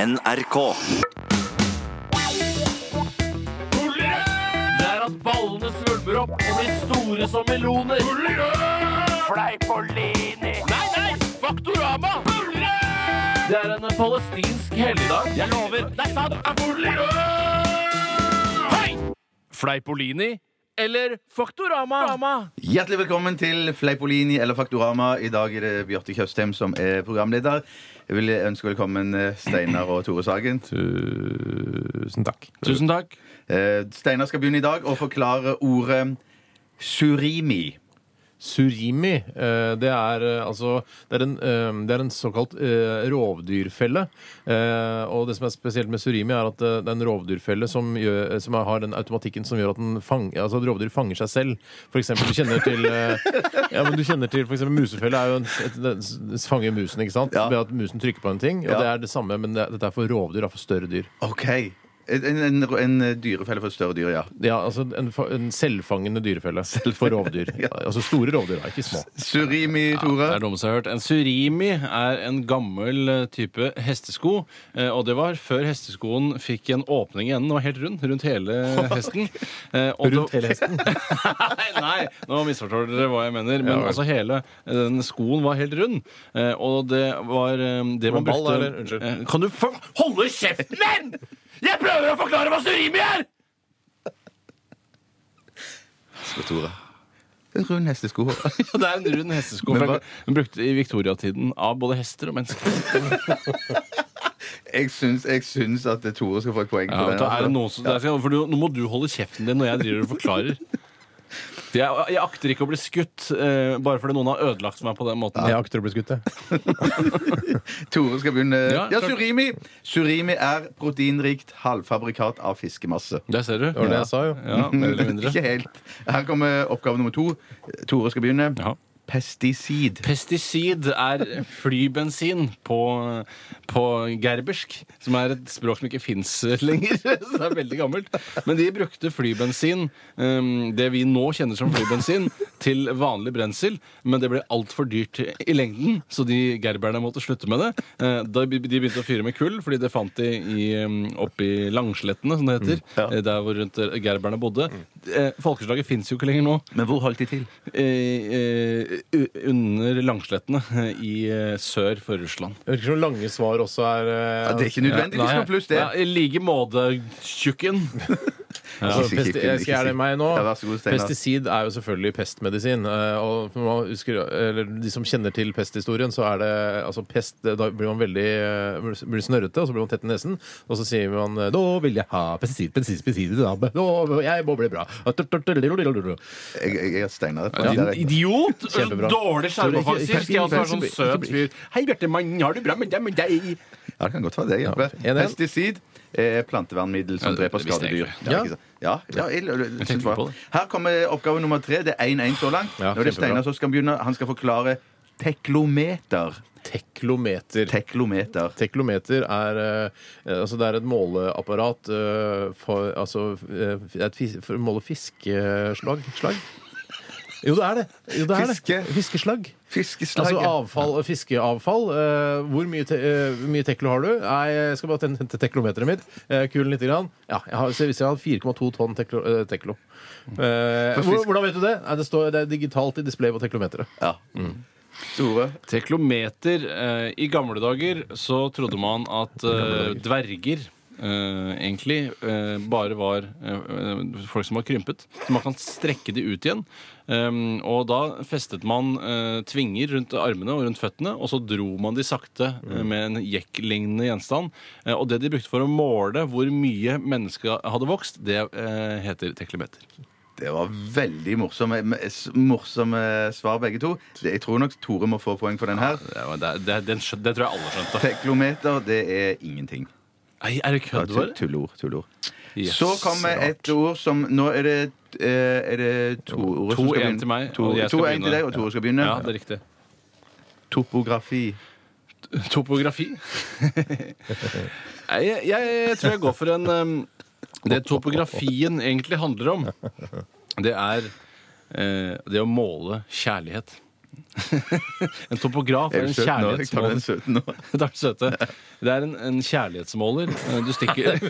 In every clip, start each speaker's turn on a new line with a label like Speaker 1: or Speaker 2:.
Speaker 1: NRK.
Speaker 2: Det er at ballene svulmer opp og blir store som meloner. Fleipolini. Nei, nei! Faktorama! Det er en palestinsk helligdag. Jeg lover. Det er sant. Hei! Fleipolini eller Faktorama?
Speaker 3: Hjertelig velkommen til Fleipolini eller Faktorama. I dag er det Bjarte Tjøstheim som er programleder. Jeg vil ønske velkommen eh, Steinar og Tore Sagen.
Speaker 4: Tusen takk.
Speaker 2: Tusen takk.
Speaker 3: Eh, Steinar skal begynne i dag og forklare ordet surimi.
Speaker 4: Surimi, eh, det er eh, altså Det er en, eh, det er en såkalt eh, rovdyrfelle. Eh, Og det som er spesielt med surimi, er at eh, det er en rovdyrfelle som, gjør, eh, som har den automatikken som gjør at, den fang, altså at rovdyr fanger seg selv. For eksempel, du kjenner til eh, Ja, men du kjenner til for eksempel musefelle er jo en, et, den s- fanger musen, ikke sant?
Speaker 3: Ja.
Speaker 4: Ved at musen trykker på en ting. Og
Speaker 3: Ja.
Speaker 4: det er det samme, men det, dette er for rovdyr, da, for større dyr.
Speaker 3: OK. En, en, en dyrefelle for større dyr, ja.
Speaker 4: Ja, altså en, fa- en selvfangende dyrefelle for rovdyr. Altså store rovdyr, da, ikke små.
Speaker 3: Surimi, Tore.
Speaker 5: Det er det dummeste jeg har hørt. En surimi er en gammel eh, type hestesko. eh, Og det var før hesteskoen fikk en åpning i enden. Den var helt rund rundt hele hesten. Eh, og det-
Speaker 4: Rundt hele hesten.
Speaker 5: nei, nei, nå misforstår dere hva jeg mener. Men altså hele den skoen var helt rund. eh, Og det var eh, det man
Speaker 4: Var det ball,
Speaker 5: brukte
Speaker 4: eller? Unnskyld.
Speaker 5: Eh, Kan du for...
Speaker 2: Holde kjeften din! Jeg prøver å forklare hva surimi er!
Speaker 3: En rund hestesko.
Speaker 5: Ja, det er en rund hestesko.
Speaker 3: Men
Speaker 5: fra-
Speaker 3: hva-
Speaker 5: Den brukte i viktoriatiden av både hester og mennesker.
Speaker 3: Jeg syns, jeg syns at Tore skal få et poeng
Speaker 5: Ja,
Speaker 3: for
Speaker 5: men
Speaker 3: altså.
Speaker 5: da er det
Speaker 3: den.
Speaker 5: noe som, det er, for du, nå må du holde kjeften din når jeg driver og forklarer. Jeg, jeg akter ikke å bli skutt eh, bare fordi noen har ødelagt meg på den måten.
Speaker 4: Jeg akter å bli skutt, jeg.
Speaker 3: Tore skal begynne.
Speaker 5: Ja,
Speaker 3: Ja,
Speaker 5: klart.
Speaker 3: surimi. Surimi er proteinrikt halvfabrikat av fiskemasse.
Speaker 5: Der ser du.
Speaker 4: Det var det jeg sa, jo.
Speaker 5: Ja, mer eller mindre.
Speaker 3: Ikke helt. Her kommer oppgave nummer to. Tore skal begynne.
Speaker 5: Ja.
Speaker 3: Pesticid.
Speaker 5: Pesticid er flybensin på, på gerbersk, som er et språk som ikke fins lenger. Så det er veldig gammelt. Men de brukte flybensin, eh, det vi nå kjenner som flybensin, til vanlig brensel. Men det ble altfor dyrt i lengden, så de gerberne måtte slutte med det. Eh, Da be- de begynte å fyre med kull, fordi det fant de i, eh, oppe i Langslettene, som det heter. eh, Der hvor rundt eh, gerberne bodde. Eh, Folkeslaget fins jo ikke lenger nå
Speaker 3: Men hvor holdt de til?
Speaker 5: eh, eh, u- under langslettene eh, i eh, sør for Russland.
Speaker 4: Det virker som lange svar også er eh,
Speaker 3: Ja, det er ikke liksom. nødvendigvis noe pluss, det.
Speaker 5: Ja, I like måte, tjukken.
Speaker 3: Ikke
Speaker 4: altså,
Speaker 3: si
Speaker 4: pesti-
Speaker 3: kun,
Speaker 4: jeg
Speaker 3: ikke
Speaker 4: Skal
Speaker 3: si-
Speaker 4: jeg det meg nå?
Speaker 3: Ja, vær så god, Steinar.
Speaker 4: Pesticid er jo selvfølgelig pestmedisin. eh, Og for man husker, eller de som kjenner til pesthistorien, så er det altså pest det- Da blir man veldig eh, blir snørrete, og så blir man tett i nesen. Og så sier man eh, 'Nå vil jeg ha pesticid, pesticid, pesticid i dag. Nå må jeg må bli bra'.
Speaker 3: Jeg, jeg, jeg er Steinar.
Speaker 5: Din idiot!
Speaker 4: Kjempebra.
Speaker 5: Dårlig
Speaker 4: Ikke-
Speaker 5: sjarmofagsiv. Skal jeg også være sånn
Speaker 4: ikke-
Speaker 5: søt fyr? Hei, Bjarte, mann, har du bra med deg? Med deg?
Speaker 3: Ja, det kan godt være det. Jeppe.
Speaker 4: Ja, det er-
Speaker 3: Pesticid er plantevernmiddel som
Speaker 5: Ja, det-
Speaker 3: dreper
Speaker 5: det visste jeg
Speaker 3: skadedyr.
Speaker 5: ikke.
Speaker 3: Ja, ikke sant? ja, ja, jeg, jeg,
Speaker 5: tenkte
Speaker 3: synes
Speaker 5: ikke
Speaker 3: bra.
Speaker 5: på det.
Speaker 3: Her kommer oppgave nummer tre. Det er 1-1 så langt.
Speaker 4: Ja,
Speaker 3: Nå er det
Speaker 4: kjempebra.
Speaker 3: Steinar som skal begynne. Han skal forklare teklometer.
Speaker 4: Teklometer.
Speaker 3: Teklometer.
Speaker 4: Teklometer er, eh, altså det er et måleapparat eh, for, altså, eh, et fis, for å måle fiskeslag. Slag? Jo, det er det. Jo, det, er det.
Speaker 3: Fiske.
Speaker 4: Fiskeslag.
Speaker 3: Fiskeslaget.
Speaker 4: Altså avfall, fiskeavfall. Eh, hvor mye, te, eh, hvor mye teklo har du? Nei, jeg skal bare ten- hente teklometeret mitt. Eh, kulen lite grann. Ja, jeg har, så hvis jeg har 4,2 tonn teklo. eh, teklo. Eh,
Speaker 3: For
Speaker 4: hvor-
Speaker 3: fisk-
Speaker 4: hvordan vet du det? Nei, det, står, det er digitalt i display på teklometeret.
Speaker 3: Ja.
Speaker 4: Mm.
Speaker 3: Tore.
Speaker 5: Teklometer. Eh, I gamle dager så trodde man at eh, dverger eh, egentlig eh, bare var eh, eh, folk som var krympet. Så man kan strekke de ut igjen. Um, og da festet man eh, tvinger rundt armene og rundt føttene, og så dro man de sakte eh, med en jekklignende gjenstand. Eh, og det de brukte for å måle hvor mye mennesket hadde vokst, det eh, heter teklometer.
Speaker 3: Det var veldig morsomme, s- morsomme svar, begge to. Det- Jeg tror nok Tore må få poeng for den her.
Speaker 5: Det, var- det, det, den skjø- det tror jeg alle skjønte.
Speaker 3: Teklometer, det er ingenting.
Speaker 5: Nei, er det
Speaker 3: Det er
Speaker 5: kødd,
Speaker 3: tull-
Speaker 5: bare?
Speaker 3: Tulleord. tulleord.
Speaker 5: Yes.
Speaker 3: Så kommer et ord som Nå er det, eh, er det Tore som skal
Speaker 5: 2-1
Speaker 3: begynne.
Speaker 5: til meg,
Speaker 3: To-
Speaker 5: og jeg skal
Speaker 3: 2-1 til deg,
Speaker 5: begynne.
Speaker 3: og Tore skal begynne.
Speaker 5: Ja, det er riktig.
Speaker 3: Topografi.
Speaker 5: Topografi? Nei, jeg, jeg, jeg tror jeg går for en um, Det topografien egentlig handler om, det er eh, det å måle kjærlighet. En topograf
Speaker 3: Jeg
Speaker 5: er
Speaker 3: er
Speaker 5: en
Speaker 3: søt nå. Jeg tar
Speaker 5: kjærlighetsmåler. Det er det søte.
Speaker 3: den søte nå.
Speaker 5: Det er en, en kjærlighetsmåler. eh, Du stikker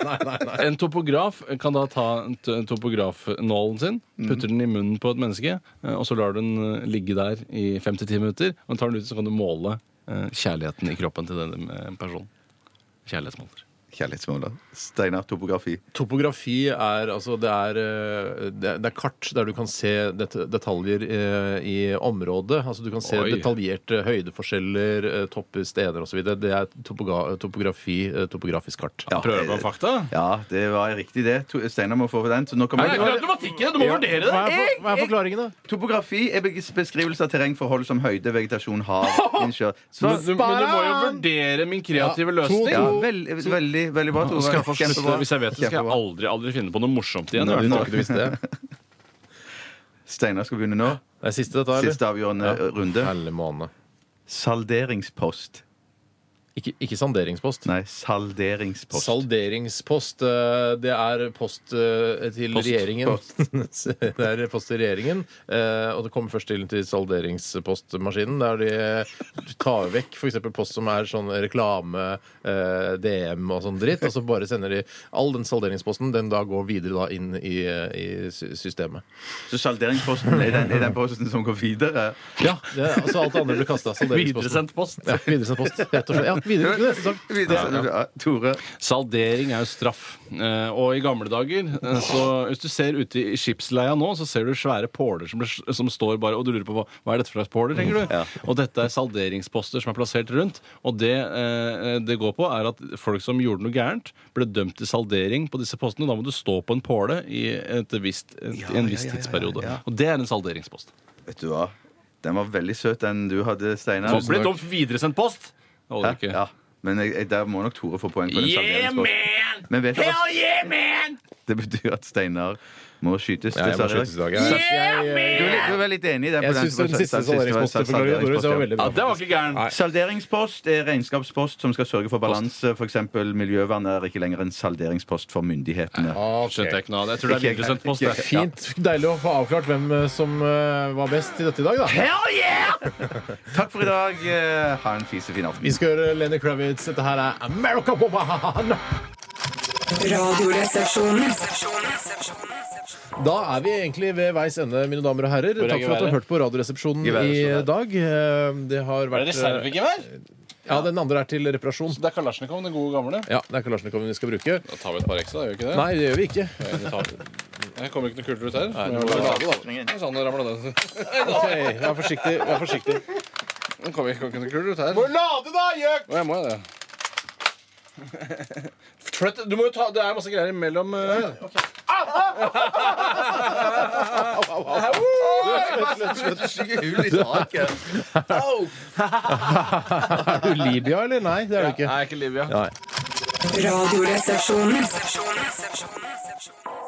Speaker 5: Altså, En topograf kan da ta en t- en topografnålen sin, putter den i munnen på et menneske, eh, og så lar du den eh, ligge der i fem til ti minutter. Og tar den ut, så kan du måle eh, kjærligheten i kroppen til den eh, personen. Kjærlighetsmåler.
Speaker 3: Kjærlighetsmåler. Steinar topografi.
Speaker 4: Topografi er altså det er, eh, det er- det er kart der du kan se det- detaljer eh, i området. Altså Du kan se
Speaker 5: Oi.
Speaker 4: detaljerte høydeforskjeller, eh, topper, steder osv. Det er topoga topografi, eh, topografisk kart.
Speaker 3: Ja,
Speaker 5: Prøver
Speaker 3: det-
Speaker 5: man fakta?
Speaker 3: Ja, det var riktig, det. To- Steinar må få den. Så nå kommer
Speaker 5: Nei, det er automatikken! Du må vurdere det!
Speaker 4: Hva er, for, hva er forklaringene?
Speaker 3: Topografi er bes- beskrivelse av terrengforhold som høyde, vegetasjon, hav, innsjøer Så-
Speaker 5: Men du, men du må jo vurdere min kreative
Speaker 4: Ja, to-
Speaker 5: løsning.
Speaker 3: Ja, vel, veldig, veldig bra,
Speaker 5: Nå
Speaker 3: Tore.
Speaker 5: skal jeg få slutte.
Speaker 3: Kjempebra.
Speaker 5: Hvis jeg vet det, skal jeg
Speaker 3: Kjempebra.
Speaker 5: aldri, aldri finne på noe morsomt igjen. i
Speaker 3: Nå-
Speaker 5: hvert fall.
Speaker 3: nå- Steinar skal begynne nå.
Speaker 4: Det er siste dette, eller?
Speaker 3: Siste avgjørende
Speaker 4: Ja.
Speaker 3: runde.
Speaker 4: Helle måned.
Speaker 3: Salderingspost.
Speaker 4: Ikke, ikke salderingspost.
Speaker 3: Nei, salderingspost.
Speaker 4: Salderingspost. eh, Det er post eh, til
Speaker 5: Post.
Speaker 4: regjeringen. det er post til regjeringen. eh, Og det kommer først til, til salderingspostmaskinen, der de tar vekk f.eks. post som er sånn reklame, eh, DM og sånn dritt, og så bare sender de all den salderingsposten, den da går videre da inn i, eh, i sy- systemet.
Speaker 3: Så salderingsposten er den, er den posten som går videre?
Speaker 4: Ja, det, er- altså alt det andre blir kasta. Salderingsposten.
Speaker 5: Videresendt post.
Speaker 4: Ja, videresendt post. Rett og slett. Ja, videre til neste sak.
Speaker 3: videre. Ja, Tore.
Speaker 5: Saldering er jo straff. Eh, Og i gamle dager, eh, så hvis du ser ute i skipsleia nå, så ser du svære påler som, blir- som står bare, og du lurer på hva, hva er dette for slags påler, tenker
Speaker 3: Mm,
Speaker 5: du. Og dette er salderingsposter som er plassert rundt. Og det eh, det går på, er at folk som gjorde noe gærent, ble dømt til saldering på disse postene. Da må du stå på en påle i et visst, et, i en viss tidsperiode. Og det er en salderingspost.
Speaker 3: Vet du hva? Den var veldig søt, den du hadde, Steinar.
Speaker 5: Ble det dumt videresendt post? Det holder
Speaker 3: Hæ?
Speaker 5: ikke.
Speaker 3: Ja. Men jeg, jeg, der må nok Tore få poeng for den
Speaker 5: Yeah,
Speaker 3: salderingsposten.
Speaker 5: man!
Speaker 3: Men vet du hva?
Speaker 5: Hell yeah, man!
Speaker 3: Det betyr at Steinar må skytes.
Speaker 4: Ja, jeg må
Speaker 3: dessverre.
Speaker 4: skytes i dag. Jeg-
Speaker 3: Du, er litt- du er litt enig i det? på
Speaker 4: Jeg syns den siste salderingsposten for Gloria Doris var
Speaker 5: Ja,
Speaker 4: veldig bra.
Speaker 5: det var ikke gærent.
Speaker 3: Salderingspost er regnskapspost som skal sørge for balanse. F.eks. miljøvern er ikke lenger en salderingspost for myndighetene.
Speaker 4: Ok.
Speaker 5: Skjønte jeg ikke noe av det. Jeg tror det er
Speaker 3: Ikke jeg,
Speaker 5: videresendt post.
Speaker 3: ikke
Speaker 5: det.
Speaker 3: jeg.
Speaker 4: Fint. Deilig å få avklart hvem eh, som eh, var best i dette i dag, da.
Speaker 3: Takk for i dag. Eh, Ha en fisefin aften.
Speaker 4: Vi skal høre Lenny Kravitz. Dette her er America Woman!
Speaker 1: Radioresepsjonen.
Speaker 4: Da er vi egentlig ved veis ende, mine damer og herrer. Takk for at du har hørt på Radioresepsjonen
Speaker 3: Geværet
Speaker 4: i
Speaker 3: står der.
Speaker 4: dag. Eh, Det har vært eh, Ja, den andre er til reparasjon.
Speaker 5: Det er Kalasjnikov, den gode gamle.
Speaker 4: Ja, det er Kalasjnikov vi skal bruke.
Speaker 5: Da tar vi et par ekstra, gjør vi ikke det?
Speaker 4: Nei, det gjør vi ikke.
Speaker 5: Det kommer ikke noe kult ut her. Nei,
Speaker 4: det var
Speaker 5: lage, da. Sånn, det ramler ned.
Speaker 4: Ok, Vær forsiktig. Vær forsiktig.
Speaker 5: Det kommer ikke noe kult ut her. Må lade, da, gjøk! Jeg må jo det. Flytt- Du må jo ta, det er masse greier imellom eh.
Speaker 3: Hull i taket.
Speaker 4: Er du Libya, eller? Nei, det er du ikke.
Speaker 5: Nei, ikke Livia.
Speaker 1: Radioresepsjonen.